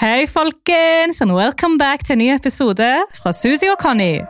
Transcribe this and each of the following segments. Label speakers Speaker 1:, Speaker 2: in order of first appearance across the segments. Speaker 1: Hei, folkens, and welcome back til en ny episode fra Suzy og Conny.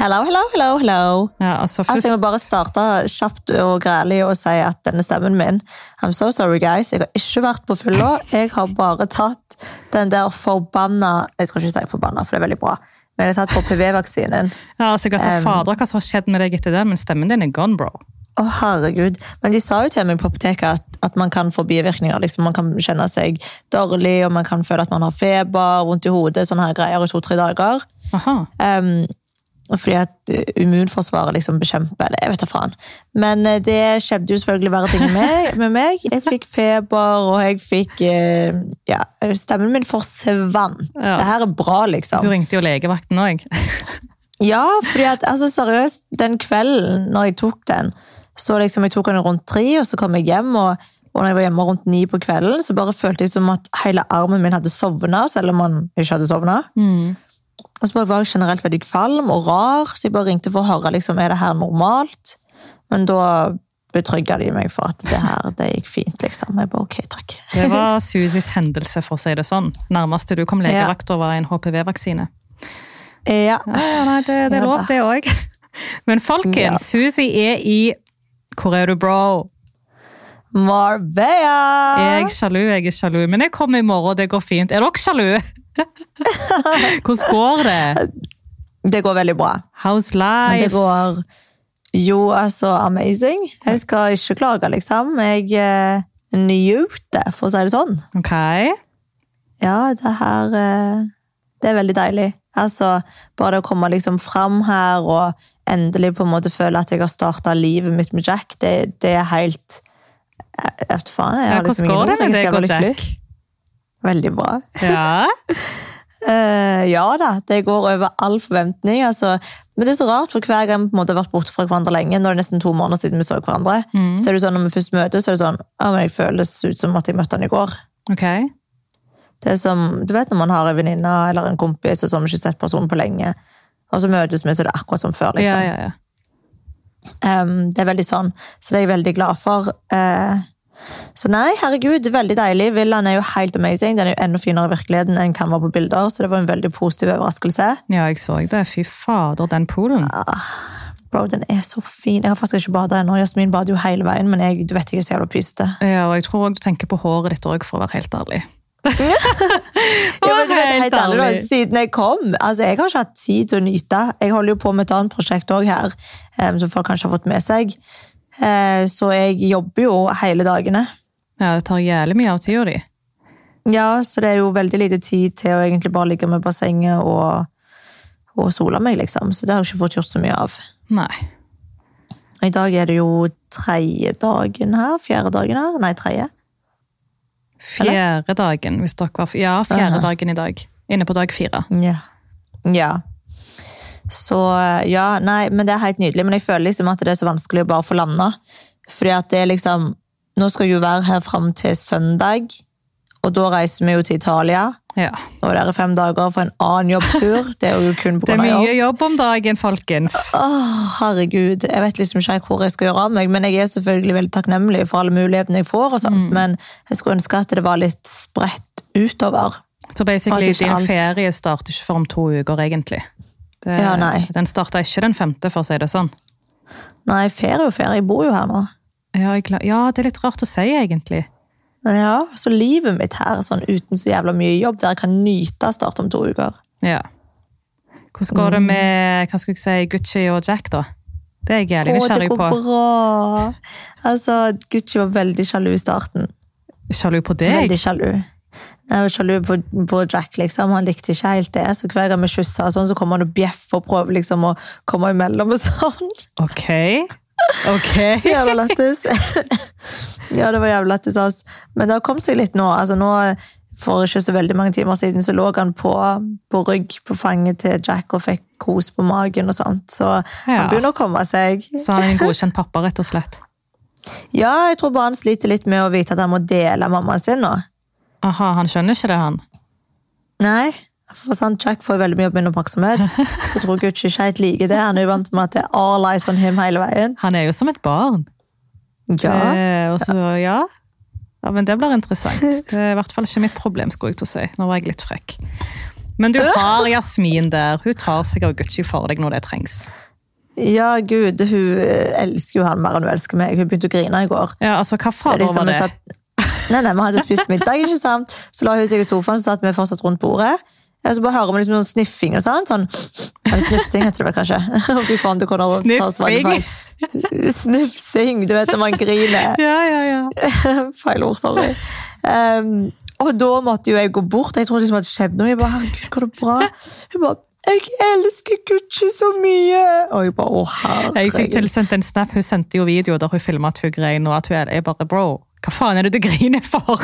Speaker 2: Hello, hello, hello, hello.
Speaker 1: Ja, altså, først,
Speaker 2: Altså, jeg må bare starte kjapt og grælig og si at denne stemmen min I'm so sorry, guys. Jeg har ikke vært på fylla. Jeg har bare tatt den der forbanna Jeg skal ikke si forbanna, for det er veldig bra. Men jeg har tatt HPV-vaksinen.
Speaker 1: ja, altså, jeg vet
Speaker 2: Em.
Speaker 1: fader hva som har skjedd med deg etter det, men stemmen din er gone, bro.
Speaker 2: Å, herregud. Men de sa jo til meg på apoteket at, at man kan få bivirkninger. liksom Man kan kjenne seg dårlig, og man kan føle at man har feber, vondt i hodet, sånne her greier i to-tre dager.
Speaker 1: Aha.
Speaker 2: Um, fordi at uh, immunforsvaret liksom bekjemper det. Jeg vet da faen. Men uh, det skjedde jo selvfølgelig verre ting med, med meg. Jeg fikk feber, og jeg fikk uh, Ja, stemmen min forsvant.
Speaker 1: Ja.
Speaker 2: Det her er bra, liksom.
Speaker 1: Du ringte jo legevakten òg.
Speaker 2: Ja, fordi at, altså seriøst, den kvelden når jeg tok den, så liksom jeg tok den rundt tre, og så kom jeg hjem, og, og når jeg var hjemme rundt ni på kvelden, så bare følte jeg som at hele armen min hadde sovnet, selv om han ikke hadde sovnet. Og så bare var jeg generelt veldig kvalm og rar, så jeg bare ringte for å høre, liksom, er det her normalt? Men da betrygget de meg for at det her, det gikk fint, liksom. Jeg bare, ok, takk.
Speaker 1: Det var Susys hendelse, for å si det sånn. Nærmeste du kom legevakta, var en HPV-vaksine.
Speaker 2: Ja,
Speaker 1: Ja, ja, nei, det, det
Speaker 2: Ja
Speaker 1: er lov,
Speaker 2: da.
Speaker 1: det òg. Men folkens,
Speaker 2: Ja.
Speaker 1: Susi er i Hvor er du, bro?
Speaker 2: Marbella!
Speaker 1: Er jeg sjalu? Jeg er sjalu. Men jeg kommer i morgen, det går fint. Er dere sjalu? Hvordan går det?
Speaker 2: Det går veldig bra.
Speaker 1: How's
Speaker 2: Men
Speaker 1: life?
Speaker 2: det går jo altså amazing. Jeg skal ikke klage, liksom. Jeg eh, nyter, for å si det sånn.
Speaker 1: Ok.
Speaker 2: Ja, det her eh, Det er veldig deilig. Altså, bare det å komme liksom fram her og endelig på en måte føle at jeg har starta livet mitt med Jack, det, det er helt jeg jeg vet faen, jeg
Speaker 1: Ja,
Speaker 2: har liksom
Speaker 1: hvordan går
Speaker 2: ingen
Speaker 1: det
Speaker 2: ord.
Speaker 1: med deg
Speaker 2: Jeg skal
Speaker 1: og
Speaker 2: være lykkelig.
Speaker 1: Jack?
Speaker 2: Veldig bra.
Speaker 1: Ja.
Speaker 2: Eh, ja da, det går over all forventning. Altså. Men det er så rart, for hver gang vi på en måte har vært borte fra hverandre lenge, nå er det nesten to måneder siden vi så hverandre,
Speaker 1: Mm.
Speaker 2: så er det sånn når vi først møtes, så er det sånn «Å, men jeg føles ut som at jeg møtte han i går.
Speaker 1: Ok.
Speaker 2: Det er som, Du vet når man har en venninne eller en kompis og som ikke har sett personen på lenge, og så møtes vi, så er det akkurat som før.
Speaker 1: Ja,
Speaker 2: liksom.
Speaker 1: ja, ja.
Speaker 2: Em, det er veldig sånn, så det er jeg veldig glad for. Eh, så nei, herregud, veldig deilig. Villaen er jo helt amazing. Den er jo enda finere i virkeligheten enn kan være på bilder, så det var en veldig positiv overraskelse.
Speaker 1: Ja, jeg så det. Fy fader, den poolen.
Speaker 2: Bro, den er så fin. Jeg har faktisk ikke badet ennå. Jasmin bader jo hele veien, men jeg, du vet jeg er så jævla pysete.
Speaker 1: Ja, og jeg tror også du tenker på håret ditt òg, for å være helt ærlig.
Speaker 2: Ja, men du vet,
Speaker 1: Helt
Speaker 2: helt ærlig, da,
Speaker 1: ærlig.
Speaker 2: siden jeg kom, altså jeg har ikke hatt tid til å nyte. Jeg holder jo på med et annet prosjekt også her, eh, som folk kanskje har fått med seg. Eh, Så jeg jobber jo hele dagene.
Speaker 1: Ja, Det tar jævlig mye av tida di.
Speaker 2: Ja, så det er jo veldig lite tid til å egentlig bare ligge med bassenget og, og sola meg, liksom. Så det har jeg ikke fått gjort så mye av.
Speaker 1: Nei.
Speaker 2: I dag er det jo tredje dagen her, fjerde dagen her. Nei, tredje.
Speaker 1: Fjerde dagen, hvis dere var Ja, fjerde
Speaker 2: Aha.
Speaker 1: dagen i dag. Inne på dag fire.
Speaker 2: Ja. ja. Så eh, ja, nei, men det er helt nydelig. Men jeg føler liksom at det er så vanskelig å bare få landa. Fordi at det er liksom Nå skal jeg jo være her fram til søndag, og da reiser vi jo til Italia.
Speaker 1: Ja.
Speaker 2: Og der er fem dager for en annen jobbtur. Det er jo kun på
Speaker 1: Det er
Speaker 2: grunn av jobb.
Speaker 1: mye jobb om dagen, folkens.
Speaker 2: Åh, herregud. Jeg vet liksom ikke hvor jeg skal gjøre av meg, men jeg er selvfølgelig veldig takknemlig for alle mulighetene jeg får, og
Speaker 1: Mm.
Speaker 2: sånt, men jeg skulle ønske at det var litt spredt utover.
Speaker 1: Så
Speaker 2: Og at
Speaker 1: basically,
Speaker 2: ikke
Speaker 1: din
Speaker 2: alt-
Speaker 1: ferie starter ikke før om to uker, egentlig. Det,
Speaker 2: Ja, nei.
Speaker 1: Den starta ikke den femte, for å si det sånn.
Speaker 2: Nei, ferie og ferie. Jeg bor jo her nå.
Speaker 1: Ja, jeg, gla- ja, det er litt rart å si, egentlig.
Speaker 2: Ja, så livet mitt her, sånn uten så jævla mye jobb, der jeg kan nyte start om to uker.
Speaker 1: Ja. Hvordan går
Speaker 2: Mm.
Speaker 1: det med hva skal jeg si, Gucci og Jack, da? Det er jeg jævlig
Speaker 2: Å, det
Speaker 1: nysgjerrig
Speaker 2: går
Speaker 1: på.
Speaker 2: bra! Altså, Gucci var veldig sjalu i starten.
Speaker 1: Sjalu på deg?
Speaker 2: Veldig sjalu. Jeg var sjalu på, på Jack, liksom. Han likte ikke helt det. Så hver gang vi kyssa, og sånn, så kom han og bjeffa og prøvde liksom, å komme imellom og sånn.
Speaker 1: Ok. Ok.
Speaker 2: Så jævla lættis. ja, det var jævla lættis av oss. Men det har kommet seg litt nå. Altså, nå for ikke så veldig mange timer siden så lå han på, på rygg på fanget til Jack og fikk kos på magen og sånt. Så
Speaker 1: Ja.
Speaker 2: han begynner å komme seg.
Speaker 1: Så han er en godkjent pappa, rett og slett.
Speaker 2: Ja, jeg tror bare han sliter litt med å vite at han må dele mammaen sin nå.
Speaker 1: Aha, han skjønner ikke det, han.
Speaker 2: Nei, for sånn Jack får veldig mye oppmerksomhet. Så jeg tror Gucci ikke helt liker det. Han er jo vant med at det er all eyes on him hele veien.
Speaker 1: Han er jo som et barn.
Speaker 2: Ja,
Speaker 1: Eh, og så, ja. ja. Men det blir interessant. Det er i hvert fall ikke mitt problem, skulle jeg til å si. Nå var jeg litt frekk. Men du har Jasmin der. Hun tar seg av Gucci for deg når det trengs.
Speaker 2: ja gud, hun eh, elsker jo han mer enn hun elsker meg. Hun begynte å grine i går.
Speaker 1: Ja, altså, hva fader
Speaker 2: Liksom,
Speaker 1: var
Speaker 2: vi
Speaker 1: det?
Speaker 2: satt- Nei, nei, vi hadde spist middag, ikke sant? Så la hun seg i sofaen, så satt vi fortsatt rundt bordet. Og så bare hører vi liksom sånn sniffing og sånn. sånn eller snufsing heter det vel kanskje. Fy faen, det kunne ta oss veldig
Speaker 1: Sniffing.
Speaker 2: feil. Snufsing, du vet når man griner.
Speaker 1: Ja, ja, ja.
Speaker 2: Feil ord, sorry. Ehm, og da måtte jo jeg gå bort. Jeg trodde liksom at det skjedde noe. Jeg bare, herregud, går det bra? Hun bare, jeg elsker Gucci så mye. Og jeg bare, å
Speaker 1: Jeg fikk
Speaker 2: herregud.
Speaker 1: tilsendt en snap. Hun sendte jo video der hun filma at hun grein, og at hun er jeg bare Bro, hva faen er det du griner for?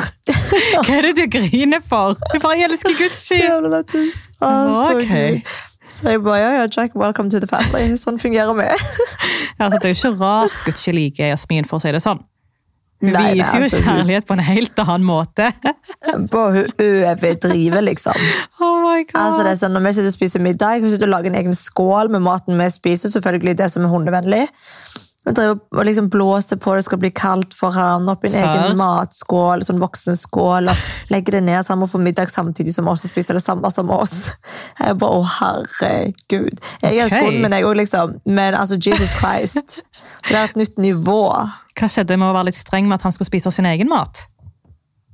Speaker 1: Hva er det du griner for? Hun bare jeg elsker
Speaker 2: Så
Speaker 1: Gucci!
Speaker 2: jævla lættis. Å, så
Speaker 1: Ok.
Speaker 2: gøy. Så jeg bare, ja, ja, Jack, welcome to the family. Sånn fungerer vi.
Speaker 1: Altså, det er jo ikke rart Gucci liker Jasmin, for å si det sånn. Hun
Speaker 2: Nei, nei,
Speaker 1: viser jo
Speaker 2: altså, hun-
Speaker 1: kjærlighet på en helt annen måte.
Speaker 2: Bare hun overdriver, liksom.
Speaker 1: Oh my god.
Speaker 2: Altså, det er sånn, når vi sitter og spiser middag, hun sitter og lager en egen skål med maten vi spiser, selvfølgelig det som er hundevennlig. Hun driver og liksom blåser på det skal bli kaldt for han, opp i en
Speaker 1: Sær.
Speaker 2: egen matskål, sånn voksenskål, og legger det ned så han må få middag samtidig som oss og spiser det samme som oss. Jeg bare, å herregud. Jeg elsker
Speaker 1: Ok.
Speaker 2: hunden min, jeg også, liksom. Men altså, Jesus Christ. Det er et nytt nivå.
Speaker 1: Hva skjedde med å være litt streng med at han skulle spise sin egen mat?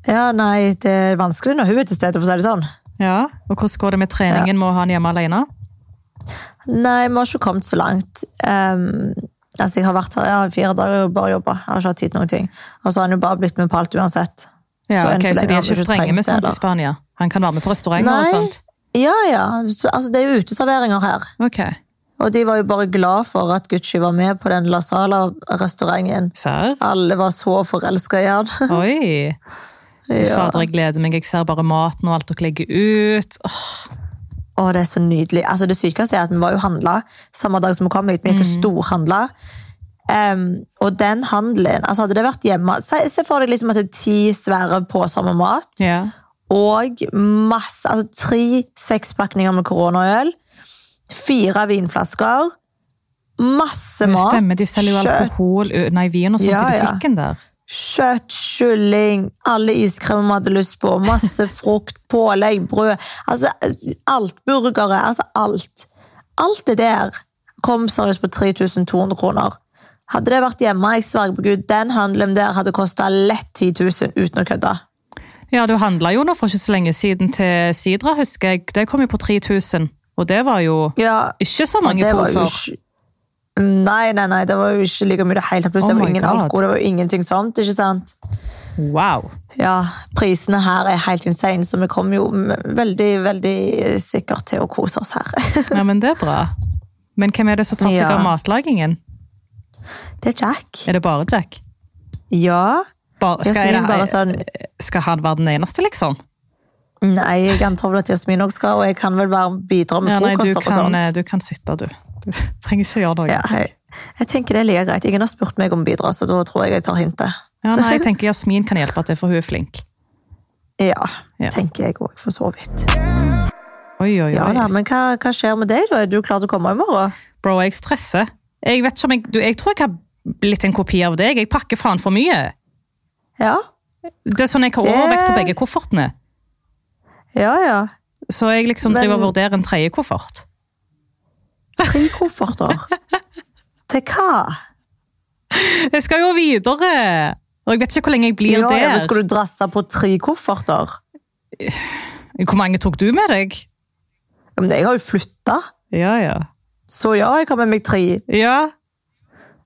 Speaker 2: Ja, nei, det er vanskelig når hun er til stede, for å si det sånn.
Speaker 1: Ja, og Hvordan går det med treningen med å ha han hjemme alene?
Speaker 2: Nei, vi har ikke kommet så langt. Ehm, altså, jeg har vært her ja, i fire dager og bare jobba. Jeg har ikke hatt tid til noen ting. Og så har han jo bare blitt med på alt uansett.
Speaker 1: Ja,
Speaker 2: enn
Speaker 1: ok, så,
Speaker 2: lenge
Speaker 1: de
Speaker 2: har
Speaker 1: er
Speaker 2: vi
Speaker 1: ikke strenge
Speaker 2: trengt
Speaker 1: med
Speaker 2: det,
Speaker 1: sånt i
Speaker 2: eller.
Speaker 1: Spania? Han kan være med på restauranter og
Speaker 2: Nei.
Speaker 1: sånt?
Speaker 2: Ja, ja. Så, altså, det er jo uteserveringer her.
Speaker 1: Ok,
Speaker 2: Og de var jo bare glad for at Gucci var med på den La Sala-restauranten.
Speaker 1: Serr?
Speaker 2: Alle var så forelska i han.
Speaker 1: Oi!
Speaker 2: ja.
Speaker 1: Fader, jeg gleder meg. Jeg ser bare maten og alt dere legger ut. Åh,
Speaker 2: Å, det er så nydelig. Altså, det sykeste er at vi var jo handla samme dag som vi kom hit. Vi
Speaker 1: Mm.
Speaker 2: gikk og storhandla. Em, og den handelen altså Hadde det vært hjemme Se, se for deg liksom at det er ti svære poser med mat.
Speaker 1: ja.
Speaker 2: Og masse Altså tre sekspakninger med koronaøl. Fire vinflasker. Masse
Speaker 1: Det
Speaker 2: mat.
Speaker 1: stemmer, de selger jo
Speaker 2: kjøtt,
Speaker 1: alkohol, ø- nei, vin og sånt
Speaker 2: Ja,
Speaker 1: i
Speaker 2: ja.
Speaker 1: butikken der.
Speaker 2: kjøtt, kylling, alle iskremer vi hadde lyst på. Masse frukt, pålegg, brød. Altså alt. Burgere. Altså alt. Alt det der kom seriøst på 3200 kroner. Hadde det vært hjemme, jeg sverger på Gud, den handelen der hadde kosta lett 10 000 uten å kødde.
Speaker 1: Ja, du handla jo nå for ikke så lenge siden til Sidra, husker jeg. Det kom jo på 3000, og det var jo
Speaker 2: Ja,
Speaker 1: ikke så
Speaker 2: Og
Speaker 1: mange
Speaker 2: det var jo
Speaker 1: poser.
Speaker 2: ikke- Mm, Nei, nei, nei, det var jo ikke like mye i det hele tatt. Pluss
Speaker 1: Oh
Speaker 2: det var
Speaker 1: my
Speaker 2: ingen
Speaker 1: God.
Speaker 2: alkohol, det var jo ingenting sånt, ikke sant?
Speaker 1: Wow.
Speaker 2: Ja, prisene her er helt insane, så vi kommer jo m- veldig, veldig sikkert til å kose oss her.
Speaker 1: Ja, men det er bra. Men hvem er det som tar seg
Speaker 2: Ja.
Speaker 1: av matlagingen?
Speaker 2: Det er Jack.
Speaker 1: Er det bare Jack?
Speaker 2: Ja,
Speaker 1: Bare, skal,
Speaker 2: Jasmin
Speaker 1: jeg,
Speaker 2: bare sånn,
Speaker 1: skal han være den eneste, liksom?
Speaker 2: nei, jeg antar vel at Jasmin også skal, og jeg kan vel være bidra med
Speaker 1: Ja, nei, du
Speaker 2: frokoster og
Speaker 1: kan, eh,
Speaker 2: sånt.
Speaker 1: du kan sitte, du. Du trenger ikke gjøre noe.
Speaker 2: Ja, jeg, jeg tenker det er like greit. Ingen har spurt meg om bidrag, så da tror jeg jeg tar hintet.
Speaker 1: Ja, nei, jeg tenker Jasmin kan hjelpe til, for hun er flink.
Speaker 2: Ja,
Speaker 1: Ja.
Speaker 2: tenker jeg også, for så vidt.
Speaker 1: Oi, oi,
Speaker 2: Ja da,
Speaker 1: oi.
Speaker 2: men hva, hva skjer med deg da? Er du klar til å komme i morgen?
Speaker 1: Bro, jeg stresser. Jeg vet ikke om jeg, du, jeg tror jeg har blitt en kopi av deg. Jeg pakker faen for mye.
Speaker 2: Ja,
Speaker 1: Det er sånn jeg har
Speaker 2: Det-
Speaker 1: overvekt på begge koffertene.
Speaker 2: ja, ja.
Speaker 1: Så jeg liksom
Speaker 2: Men-
Speaker 1: driver og vurderer en tredje koffert.
Speaker 2: Tre kofferter. Til hva?
Speaker 1: Jeg skal jo videre! Og jeg vet ikke hvor lenge jeg blir
Speaker 2: Ja, ja,
Speaker 1: der.
Speaker 2: men skal du drasse på tre kofferter?
Speaker 1: Hvor mange tok du med deg?
Speaker 2: Ja, Men jeg har jo flytta.
Speaker 1: Ja, ja.
Speaker 2: Så ja, jeg har med meg tre.
Speaker 1: Ja,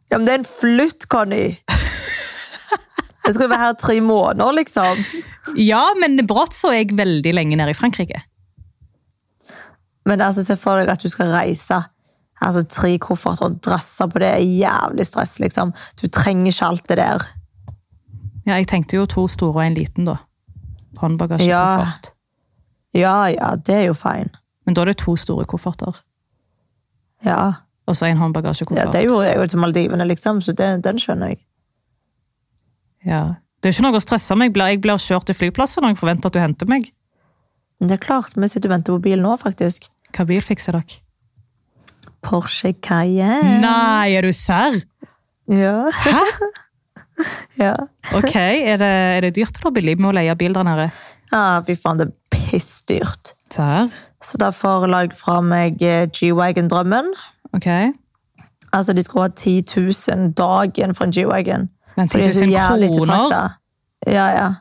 Speaker 2: Ja, men det er en flytt, Conny. Jeg skal jo være her tre måneder, liksom.
Speaker 1: ja men brått så er jeg veldig lenge nede i Frankrike.
Speaker 2: Men altså, se for deg at du skal reise. Altså, tre kofferter og drasse på det er jævlig stress, liksom. Du trenger ikke alt det der.
Speaker 1: Ja, jeg tenkte jo to store og en liten, da. Håndbagasje
Speaker 2: Ja.
Speaker 1: koffert.
Speaker 2: Ja, ja, det er jo fine.
Speaker 1: Men da er det to store kofferter.
Speaker 2: Ja,
Speaker 1: Og så en
Speaker 2: ja
Speaker 1: håndbagasjekoffert.
Speaker 2: det gjorde jeg jo til Maldivene, liksom, så det, den skjønner jeg.
Speaker 1: Ja. Det er jo ikke noe å stresse meg. Jeg blir- Jeg blir kjørt til flyplassen når jeg forventer at du henter meg.
Speaker 2: Men det er klart, vi sitter og venter på bil nå, faktisk.
Speaker 1: Hva bil fikser dere?
Speaker 2: Porsche Cayenne.
Speaker 1: Nei, er du serr?
Speaker 2: Ja. Hæ? ja.
Speaker 1: Ok, er det, er det dyrt eller billig med å leie bil der nede?
Speaker 2: Ja, fy faen, det er pissdyrt.
Speaker 1: Serr?
Speaker 2: Så derfor la jeg fra meg eh, G-Wagon-drømmen.
Speaker 1: Ok.
Speaker 2: Altså, de skulle ha 10 000 dagen for en G-Wagon.
Speaker 1: Men
Speaker 2: Fordi det er så
Speaker 1: 10 000
Speaker 2: jævlig
Speaker 1: kroner?
Speaker 2: ettertraktet. Ja, ja.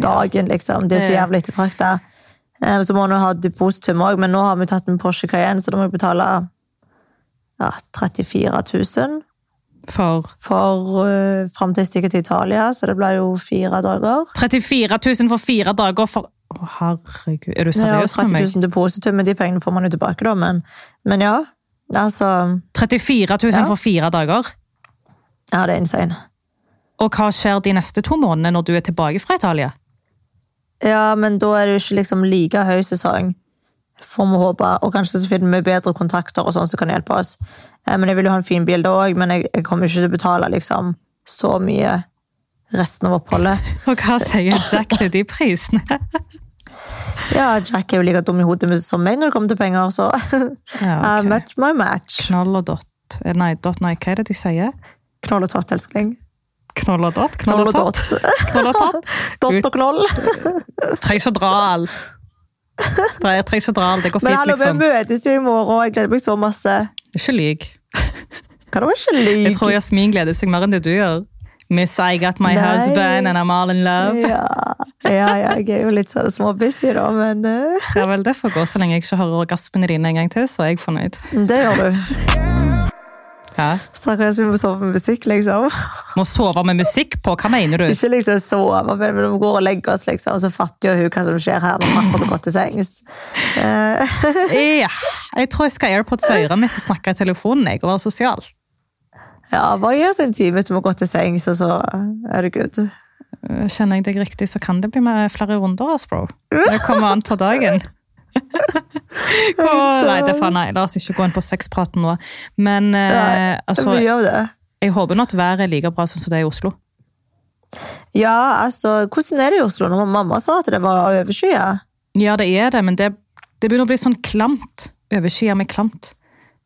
Speaker 2: Dagen, liksom. Det er så
Speaker 1: Ja.
Speaker 2: jævlig ettertrakta. Så må hun jo ha depositum òg, men nå har vi tatt en Porsche Cayenne, så da må jeg betale ja, 34 000
Speaker 1: For
Speaker 2: for uh, fram til jeg stikker til Italia, så det blir jo fire dager.
Speaker 1: 34 000 for fire dager for Å, herregud. Er du
Speaker 2: Ja, og
Speaker 1: seriøs med
Speaker 2: 30
Speaker 1: meg?
Speaker 2: 000 depositum, men de pengene får man jo tilbake, da. Men, men ja. Altså
Speaker 1: 34 000
Speaker 2: Ja.
Speaker 1: for fire dager?
Speaker 2: Ja, det er insane.
Speaker 1: Og hva skjer de neste to månedene når du er tilbake fra Italia?
Speaker 2: Ja, men da er det jo ikke liksom like høy sesong. Får vi håpe. Og kanskje så finner vi bedre kontakter og sånn som kan hjelpe oss. Eh, Men jeg vil jo ha en fin bil da òg, men jeg, jeg kommer ikke til å betale liksom så mye resten av oppholdet.
Speaker 1: Og hva sier Jack til de prisene?
Speaker 2: Ja, Jack er jo like dum i hodet som meg når det kommer til penger, så
Speaker 1: Ja,
Speaker 2: I
Speaker 1: ok.
Speaker 2: match my match.
Speaker 1: Knoll og dott. eh, Nei, dott, nei, hva er det de sier?
Speaker 2: Knoll og tott, elskling.
Speaker 1: Knoll og dott? Knoll
Speaker 2: Knoll
Speaker 1: og
Speaker 2: og
Speaker 1: tott?
Speaker 2: dott.
Speaker 1: Knoll og dott?
Speaker 2: Dott og knoll.
Speaker 1: Trenger ikke å dra all. Nei, Jeg trenger ikke å dra all, det går
Speaker 2: Men
Speaker 1: fint,
Speaker 2: hallo, vi
Speaker 1: liksom.
Speaker 2: møtes jo i morgen, og jeg gleder meg så masse.
Speaker 1: Ikke lyg.
Speaker 2: Kan du ikke
Speaker 1: Jeg tror
Speaker 2: lyve?
Speaker 1: Jasmin gleder seg mer enn det du gjør. Miss I got my
Speaker 2: Nei.
Speaker 1: husband and I'm all in love.
Speaker 2: Ja, ja, ja, jeg er jo litt sånn småbusy da, men eh.
Speaker 1: Ja vel, det får gå så lenge jeg ikke hører orgasmene dine en gang til, så er jeg fornøyd.
Speaker 2: Det gjør du.
Speaker 1: Ja.
Speaker 2: Snakker jeg skulle sove med musikk, liksom.
Speaker 1: Må sove med musikk på, hva mener du?
Speaker 2: Ikke liksom sove, men vi går og legger oss, liksom. Så fatter jo hun hva som skjer her når vi akkurat har gått til sengs. Eh,
Speaker 1: Ja. Jeg tror jeg skal airpods i øret mitt og snakke i telefonen jeg, og være sosial.
Speaker 2: ja, bare gi oss en time til vi har gått til sengs, og så er det good.
Speaker 1: Eh, Kjenner jeg deg riktig, så kan det bli mer, flere runder, ass, bro. Det kommer an på dagen. Hvor, nei, det er faen, nei, la oss ikke gå inn på sexpraten nå. Men eh, altså,
Speaker 2: Mye av det.
Speaker 1: jeg håper nå at været er like bra sånn som det er i Oslo.
Speaker 2: Ja, altså, hvordan er det i Oslo? Når mamma sa at det var overskyet.
Speaker 1: Ja, det er det, men det, det begynner å bli sånn klamt. Overskyet med klamt.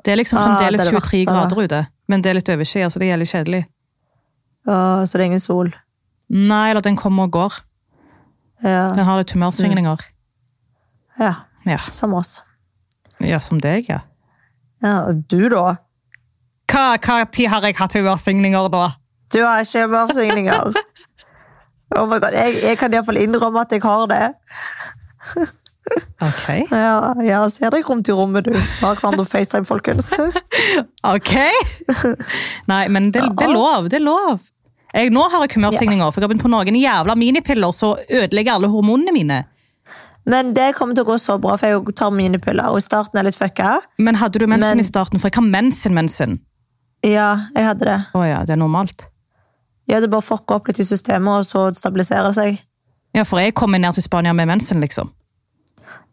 Speaker 1: Det er liksom
Speaker 2: Ah, det
Speaker 1: fremdeles
Speaker 2: er det
Speaker 1: 23
Speaker 2: verste, da.
Speaker 1: grader ute, men det er litt overskyet, så det er jævlig kjedelig.
Speaker 2: Ja, så det er ingen sol.
Speaker 1: Nei, eller den kommer og går.
Speaker 2: Ja,
Speaker 1: Den har litt humørsvingninger.
Speaker 2: ja
Speaker 1: Ja.
Speaker 2: som oss.
Speaker 1: ja, som deg, ja.
Speaker 2: Ja, og du da?
Speaker 1: Hva, hva tid har jeg hatt humørsvingninger da?
Speaker 2: Du har ikke humørsvingninger. Oh my god, jeg, jeg kan i hvert fall innrømme at jeg har det.
Speaker 1: Ok.
Speaker 2: Ja, ja ser deg rundt i rommet, du. Vi har hverandre på FaceTime, folkens.
Speaker 1: Ok! Nei, men det, det er lov, det er lov. Jeg, nå har jeg humørsvingninger, for jeg har begynt på noen jævla minipiller, så ødelegger alle hormonene mine.
Speaker 2: Men det kommer til å gå så bra, for jeg tar mine piller. Og i starten er jeg litt fucka.
Speaker 1: Men hadde du mensen
Speaker 2: Men-
Speaker 1: i starten? For jeg har mensen-mensen.
Speaker 2: Ja, jeg hadde det.
Speaker 1: Å ja, det er normalt.
Speaker 2: Jeg hadde bare fucka opp litt i systemet, og så stabiliserer det seg.
Speaker 1: Ja, for jeg kommer ned til Spania med mensen, liksom.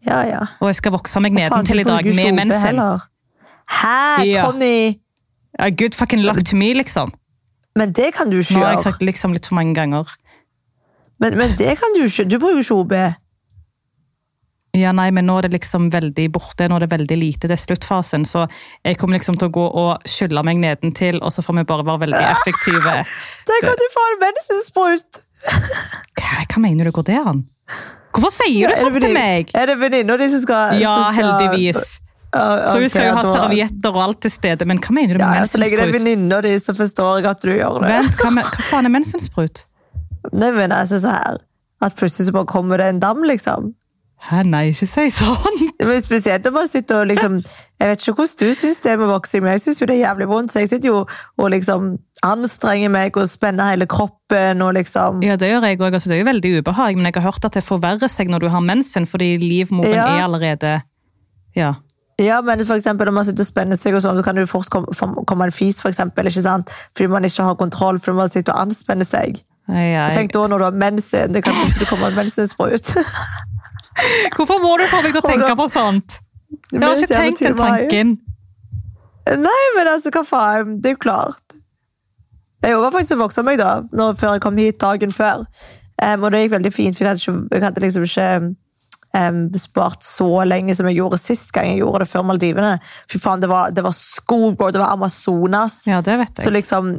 Speaker 2: Ja, ja.
Speaker 1: Og jeg skal vokse meg
Speaker 2: Faen,
Speaker 1: nedentil
Speaker 2: du
Speaker 1: i dag
Speaker 2: bruker jo
Speaker 1: med
Speaker 2: kjole
Speaker 1: mensen.
Speaker 2: heller. Hæ,
Speaker 1: Ja.
Speaker 2: Conny?
Speaker 1: Ja, good fucking luck to me, liksom.
Speaker 2: Men det kan du
Speaker 1: Nå
Speaker 2: ikke
Speaker 1: har jeg
Speaker 2: gjøre.
Speaker 1: sagt liksom litt for mange ganger.
Speaker 2: Men, men det kan du ikke. Du bruker ikke OB.
Speaker 1: Ja, nei, men nå er det liksom veldig borte, nå er det veldig lite, det er sluttfasen, så jeg kommer liksom til å gå og skylle meg nedentil, og så får vi bare være veldig effektive.
Speaker 2: Tenk om du får en mensensprut!
Speaker 1: Hva, hva mener du, går det an? Hvorfor sier du
Speaker 2: Er det
Speaker 1: sånn til
Speaker 2: vennin-
Speaker 1: meg?
Speaker 2: Er det venninna di som skal
Speaker 1: Ja,
Speaker 2: som skal-
Speaker 1: heldigvis.
Speaker 2: Ja,
Speaker 1: Så
Speaker 2: ok,
Speaker 1: vi skal jo ha
Speaker 2: da-
Speaker 1: servietter og alt til stede, men hva mener du
Speaker 2: Ja,
Speaker 1: med
Speaker 2: ja, så lenge det er
Speaker 1: mensensprut?
Speaker 2: venninna di, så forstår jeg at du gjør det.
Speaker 1: Vent, hva, men- hva faen er mensensprut?
Speaker 2: Nei, men altså så her At plutselig så bare kommer det en dam, liksom.
Speaker 1: Hæ, nei, ikke si sånn!
Speaker 2: Det var jo spesielt når man sitter og liksom Jeg vet ikke hvordan du syns det med voksing, men jeg syns jo det er jævlig vondt. Så jeg sitter jo og liksom anstrenger meg og spenner hele kroppen og liksom
Speaker 1: Ja, det gjør jeg òg. Altså, det er jo veldig ubehag, men jeg har hørt at det forverrer seg når du har mensen, fordi livmoren
Speaker 2: Ja.
Speaker 1: er allerede Ja.
Speaker 2: Ja, men for eksempel når man sitter og spenner seg og sånn, så kan det jo fort komme, fom- komme en fis, for eksempel, ikke sant? Fordi man ikke har kontroll, fordi man sitter og anspenner seg.
Speaker 1: Ai, ai.
Speaker 2: Tenk da når du har mensen, det kan plutselig komme en mensensprut.
Speaker 1: Hvorfor må du få meg til å tenke på sånt? Jeg har ikke tenkt den tanken.
Speaker 2: Nei, men altså, hva faen? Det er jo klart. Jeg var faktisk vokst om meg da, når, før jeg kom hit dagen før. Em, og det gikk veldig fint, for jeg hadde, ikke, jeg hadde liksom ikke em, spart så lenge som jeg gjorde sist gang jeg gjorde det før Maldivene. Fy faen, det var, det var skog, bro. Det var Amazonas.
Speaker 1: Ja, det vet
Speaker 2: Så
Speaker 1: jeg.
Speaker 2: liksom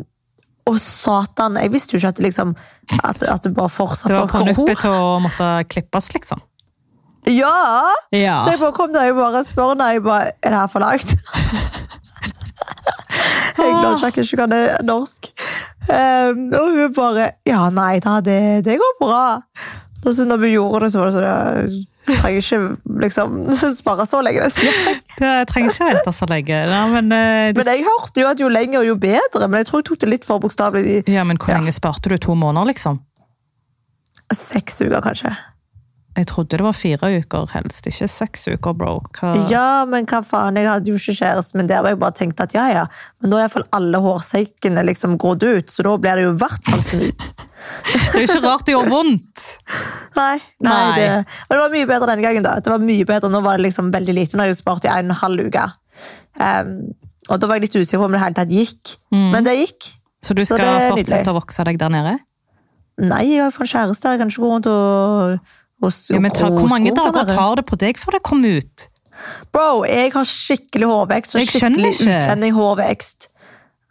Speaker 2: Å, satan! Jeg visste jo ikke at det liksom At, at det bare
Speaker 1: Det
Speaker 2: fortsatte
Speaker 1: var
Speaker 2: å
Speaker 1: på
Speaker 2: gå
Speaker 1: nuppet til å måtte klippes, liksom.
Speaker 2: Ja!
Speaker 1: Ja.
Speaker 2: Så jeg bare kom der jeg bare spør når jeg bare Er det her for langt? jeg klarer ikke jeg ikke kan det norsk. Um, og hun bare Ja, nei da, det, det går bra. Og så når vi gjorde det, så var det sånn Jeg trenger ikke liksom spare så lenge. nesten.
Speaker 1: Det, jeg trenger ikke vente så lenge. Nei, men, eh, du,
Speaker 2: Men jeg hørte jo at jo lenger, jo bedre. Men jeg tror jeg tok det litt for bokstavelig i
Speaker 1: ja, men hvor lenge sparte du? To måneder, liksom?
Speaker 2: seks uker, kanskje.
Speaker 1: Jeg trodde det var fire uker, helst. Ikke seks uker, bro. Hva?
Speaker 2: Ja, men hva faen, jeg hadde jo ikke kjæreste, men der var jeg bare tenkt at ja, ja. Men da er iallfall alle hårsekkene liksom grodd ut, så da blir det jo i hvert fall smooth.
Speaker 1: Det er jo ikke rart det gjør vondt.
Speaker 2: Nei, nei,
Speaker 1: Nei.
Speaker 2: Det, og det var mye bedre denne gangen da. Det var mye bedre, Nå var det liksom veldig lite, nå har jeg spart i en og en halv uke. Ehm, og da var jeg litt usikker på om det hele tatt gikk.
Speaker 1: Mm.
Speaker 2: Men det gikk.
Speaker 1: Så du
Speaker 2: Så
Speaker 1: skal
Speaker 2: det er nydelig.
Speaker 1: fortsette å vokse deg der nede?
Speaker 2: Nei, jeg har jo fått kjæreste, jeg kan ikke gå rundt og, og,
Speaker 1: Ja, men ta, hvor mange dager
Speaker 2: tar
Speaker 1: tar det på deg før det kommer ut?
Speaker 2: Bro, jeg har skikkelig hårvekst og
Speaker 1: Jeg skjønner
Speaker 2: skikkelig
Speaker 1: ikke.
Speaker 2: utvendig hårvekst.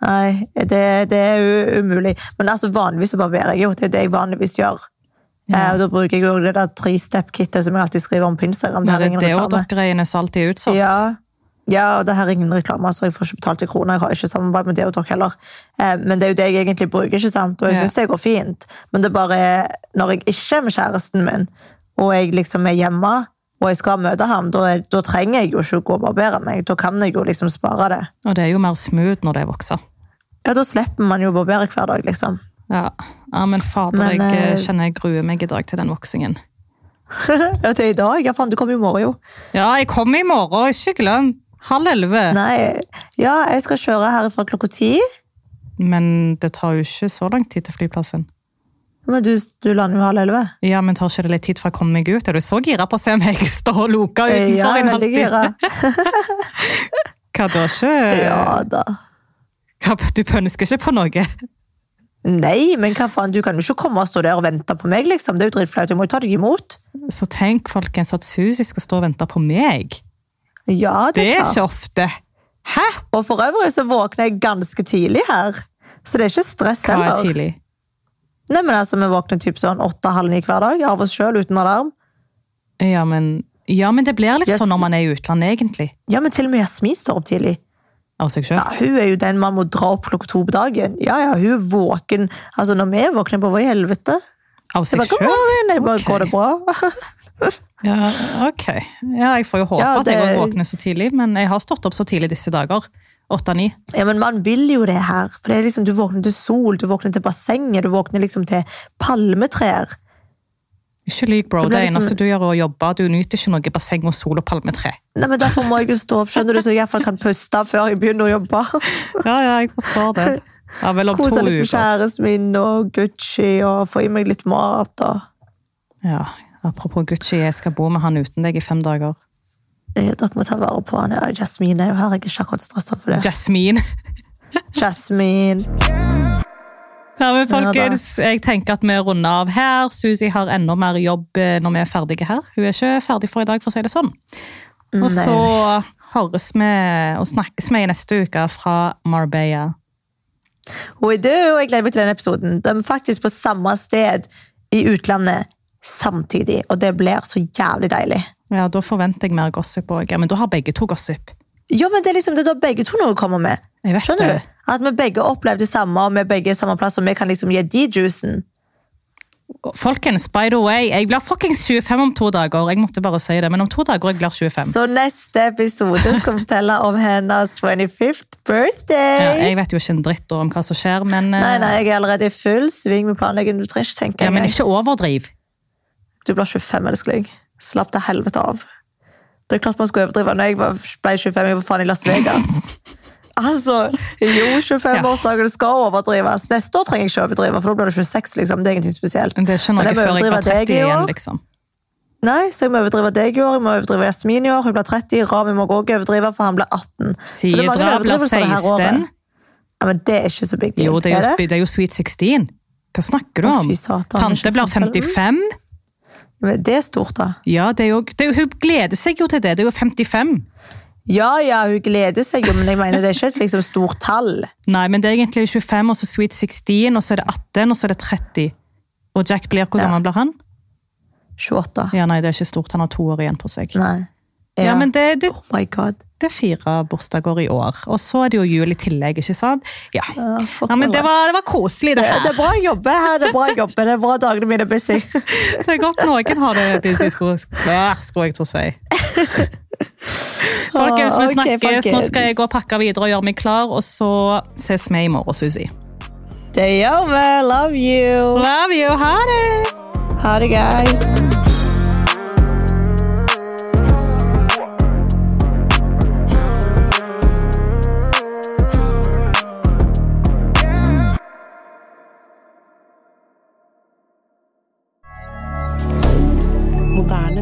Speaker 2: Nei, det, det er u- umulig. Men altså, vanligvis så barberer jeg jo. Det er jo det jeg vanligvis gjør. Eh, og da bruker jeg jo det der tre-step-kittet som jeg alltid skriver om på Instagram.
Speaker 1: Det
Speaker 2: Det her
Speaker 1: er
Speaker 2: er ingen reklame.
Speaker 1: deodorant som alltid er utsolgt.
Speaker 2: Ja. ja, og det her er ingen reklame, så jeg får ikke betalt i kroner. Jeg har ikke samarbeid med Deodok heller. Eh, men det er jo det jeg egentlig bruker, ikke sant? og jeg
Speaker 1: Ja.
Speaker 2: synes det går fint. Men det er bare når jeg ikke er med kjæresten min, og jeg liksom er hjemme, og jeg skal møte ham, da, er, da trenger jeg jo ikke å gå og barbere meg. Da kan jeg jo liksom spare det.
Speaker 1: Og det er jo mer smooth når det vokser.
Speaker 2: Ja, da slipper man jo å barbere hver dag, liksom.
Speaker 1: Ja, ja men fader,
Speaker 2: Men,
Speaker 1: jeg eh,
Speaker 2: eh,
Speaker 1: kjenner jeg gruer meg i dag til den voksingen.
Speaker 2: Ja, til i dag? Ja, faen, du kommer i morgen, jo.
Speaker 1: Ja, jeg kommer i morgen, ikke glem. Halv elleve.
Speaker 2: Nei, ja, jeg skal kjøre herfra klokka ti.
Speaker 1: Men det tar jo ikke så lang tid til flyplassen.
Speaker 2: Men du, du lander jo halv elleve.
Speaker 1: Ja, men tar ikke det litt tid fra jeg kommer meg ut? Er du så gira på å se meg stå og loke utenfor
Speaker 2: Eh, Ja, jeg
Speaker 1: en
Speaker 2: er veldig
Speaker 1: halvtime?
Speaker 2: gira.
Speaker 1: Hva da ikke?
Speaker 2: Ja da.
Speaker 1: Hva, du pønsker ikke på noe?
Speaker 2: Nei, men hva faen, du kan jo ikke komme og stå der og vente på meg, liksom. Det er jo dritflaut. Jeg må jo ta deg imot.
Speaker 1: Så tenk, folkens, at Susi skal stå og vente på meg.
Speaker 2: Ja, det
Speaker 1: Det
Speaker 2: er
Speaker 1: er
Speaker 2: klart.
Speaker 1: ikke ofte. Hæ?
Speaker 2: Og for øvrig så våkner jeg ganske tidlig her. Så det er ikke stress
Speaker 1: Hva er
Speaker 2: heller.
Speaker 1: tidlig?
Speaker 2: Nei, men altså, vi våkner typ sånn åtte-halv ni hver dag, av oss sjøl, uten alarm.
Speaker 1: Ja, men, ja, men det blir litt
Speaker 2: Yes.
Speaker 1: sånn når man er i utlandet, egentlig.
Speaker 2: Ja, men til og med Jasmin står opp tidlig.
Speaker 1: Av seg
Speaker 2: Ja,
Speaker 1: selv.
Speaker 2: Hun er jo den man må dra opp klokka to på dagen. Ja, ja, hun er våken. Altså, når vi våkner på, hva i helvete?
Speaker 1: Av seg
Speaker 2: Jeg bare, God
Speaker 1: selv?
Speaker 2: morgen! Jeg bare,
Speaker 1: Ok.
Speaker 2: Går det bra?
Speaker 1: Ja, ok. Ja, jeg får jo håpe
Speaker 2: Ja,
Speaker 1: at jeg
Speaker 2: det-
Speaker 1: også våkner så tidlig, men jeg har stått opp så tidlig disse dager. Åtte-ni.
Speaker 2: Ja, men man vil jo det her. For det er liksom, du våkner til sol, du våkner til bassenget, du våkner liksom til palmetrær.
Speaker 1: Ikke lyg, bro.
Speaker 2: Det
Speaker 1: Det,
Speaker 2: blir liksom-
Speaker 1: eneste du gjør, er å jobbe. Du nyter ikke noe basseng og sol og palmetre.
Speaker 2: Nei, men Derfor må jeg jo stå opp, skjønner du, så jeg i hvert fall kan puste før jeg begynner å jobbe.
Speaker 1: Ja, ja, jeg forstår det. Ja, vel om to
Speaker 2: Kose litt med
Speaker 1: uker.
Speaker 2: kjæresten min og Gucci og få i meg litt mat. Og...
Speaker 1: Ja, apropos Gucci, jeg skal bo med han uten deg i fem dager.
Speaker 2: Eh, Dere må ta vare på han. Ja, Jasmin er jo her, jeg er ikke akkurat stressa for det.
Speaker 1: Jasmine.
Speaker 2: Jasmin.
Speaker 1: Ja, men
Speaker 2: Ja da.
Speaker 1: folkens, jeg tenker at vi runder av her. Susi har enda mer jobb eh, når vi er ferdige her. Hun er ikke ferdig for i dag, for å si det sånn. Og
Speaker 2: Nei.
Speaker 1: så høres vi og snakkes vi i neste uke fra Marbella.
Speaker 2: Hun er død, og jeg gleder meg til den episoden. De er faktisk på samme sted i utlandet samtidig, og det blir så jævlig deilig.
Speaker 1: Ja, da forventer jeg mer gossip òg. Ja, men da har begge to gossip.
Speaker 2: Ja, men det er liksom det er da begge to noe kommer med.
Speaker 1: Jeg vet
Speaker 2: Skjønner
Speaker 1: det.
Speaker 2: du? At vi begge opplever det samme, og vi begge er samme plass, og vi kan liksom gi de juicen.
Speaker 1: Folkens, by the way, jeg blir fuckings 25 om to dager. Jeg måtte bare si det, men om to dager jeg blir 25.
Speaker 2: Så neste episode skal vi fortelle om hennes 25th
Speaker 1: Ja,
Speaker 2: birthday.
Speaker 1: jeg vet jo ikke en dritt om hva som skjer, men eh,
Speaker 2: Nei, nei, jeg er allerede i full sving med planleggingen. Du trenger ikke tenke
Speaker 1: Ja, men
Speaker 2: engang.
Speaker 1: ikke overdriv.
Speaker 2: Du blir 25, elskling. Slapp til helvete av. Det er klart man skal overdrive. Når jeg var- ble 25, jeg var faen i Las Vegas. Altså, jo, 25-årsdagen skal overdrives. Neste år trenger jeg ikke overdrive, for da blir det 26, liksom. Det er ingenting spesielt.
Speaker 1: Det er ikke
Speaker 2: Men
Speaker 1: noe
Speaker 2: jeg må
Speaker 1: før jeg blir
Speaker 2: overdrive deg i
Speaker 1: 30 igjen,
Speaker 2: år.
Speaker 1: liksom.
Speaker 2: Nei, så jeg må overdrive deg i år, jeg må overdrive Jasmin i år, hun blir 30, Rami må også overdrive, for han blir 18. Så det er mange
Speaker 1: Sidra blir
Speaker 2: overdrivelser det her året.
Speaker 1: 16.
Speaker 2: Ja, men det er ikke så big deal.
Speaker 1: Jo, det er jo,
Speaker 2: det?
Speaker 1: det er jo Sweet 16. Hva snakker du
Speaker 2: Å,
Speaker 1: om?
Speaker 2: fy satan, ikke
Speaker 1: Tante blir
Speaker 2: sant, vel?
Speaker 1: 55.
Speaker 2: Men det er stort, da.
Speaker 1: Ja, det er jo, det er jo, hun gleder seg jo til det. Det er jo 55.
Speaker 2: Ja, ja, hun gleder seg jo, men jeg mener det er ikke et liksom stort tall.
Speaker 1: Nei, men det er egentlig 25, og så Sweet 16, og så er det 18, og så er det 30. Og Jack blir, hvor
Speaker 2: Ja.
Speaker 1: gammel blir han?
Speaker 2: 28.
Speaker 1: Ja, nei, det er ikke stort. Han har to år igjen på seg.
Speaker 2: Nei.
Speaker 1: Ja, men det, det,
Speaker 2: Oh my god.
Speaker 1: det er fire bursdager i år. Og så er det jo jul i tillegg, ikke sant? Ja,
Speaker 2: Ja, fuck
Speaker 1: ja men
Speaker 2: my
Speaker 1: det
Speaker 2: life.
Speaker 1: var, det var koselig, det
Speaker 2: Ja,
Speaker 1: her.
Speaker 2: Det er bra å jobbe her, det er bra å jobbe. Det er bra dagene mine er busy.
Speaker 1: Det er godt noen har det busy sko- klær, skulle jeg tro si. Folkens, vi
Speaker 2: Ok,
Speaker 1: snakkes. Nå
Speaker 2: folkens.
Speaker 1: skal jeg gå og pakke videre og gjøre meg klar, og så ses vi i morgen, Susi.
Speaker 2: Det gjør vi. Love you.
Speaker 1: Love you. Ha det!
Speaker 2: Ha det, guys.
Speaker 3: Moderne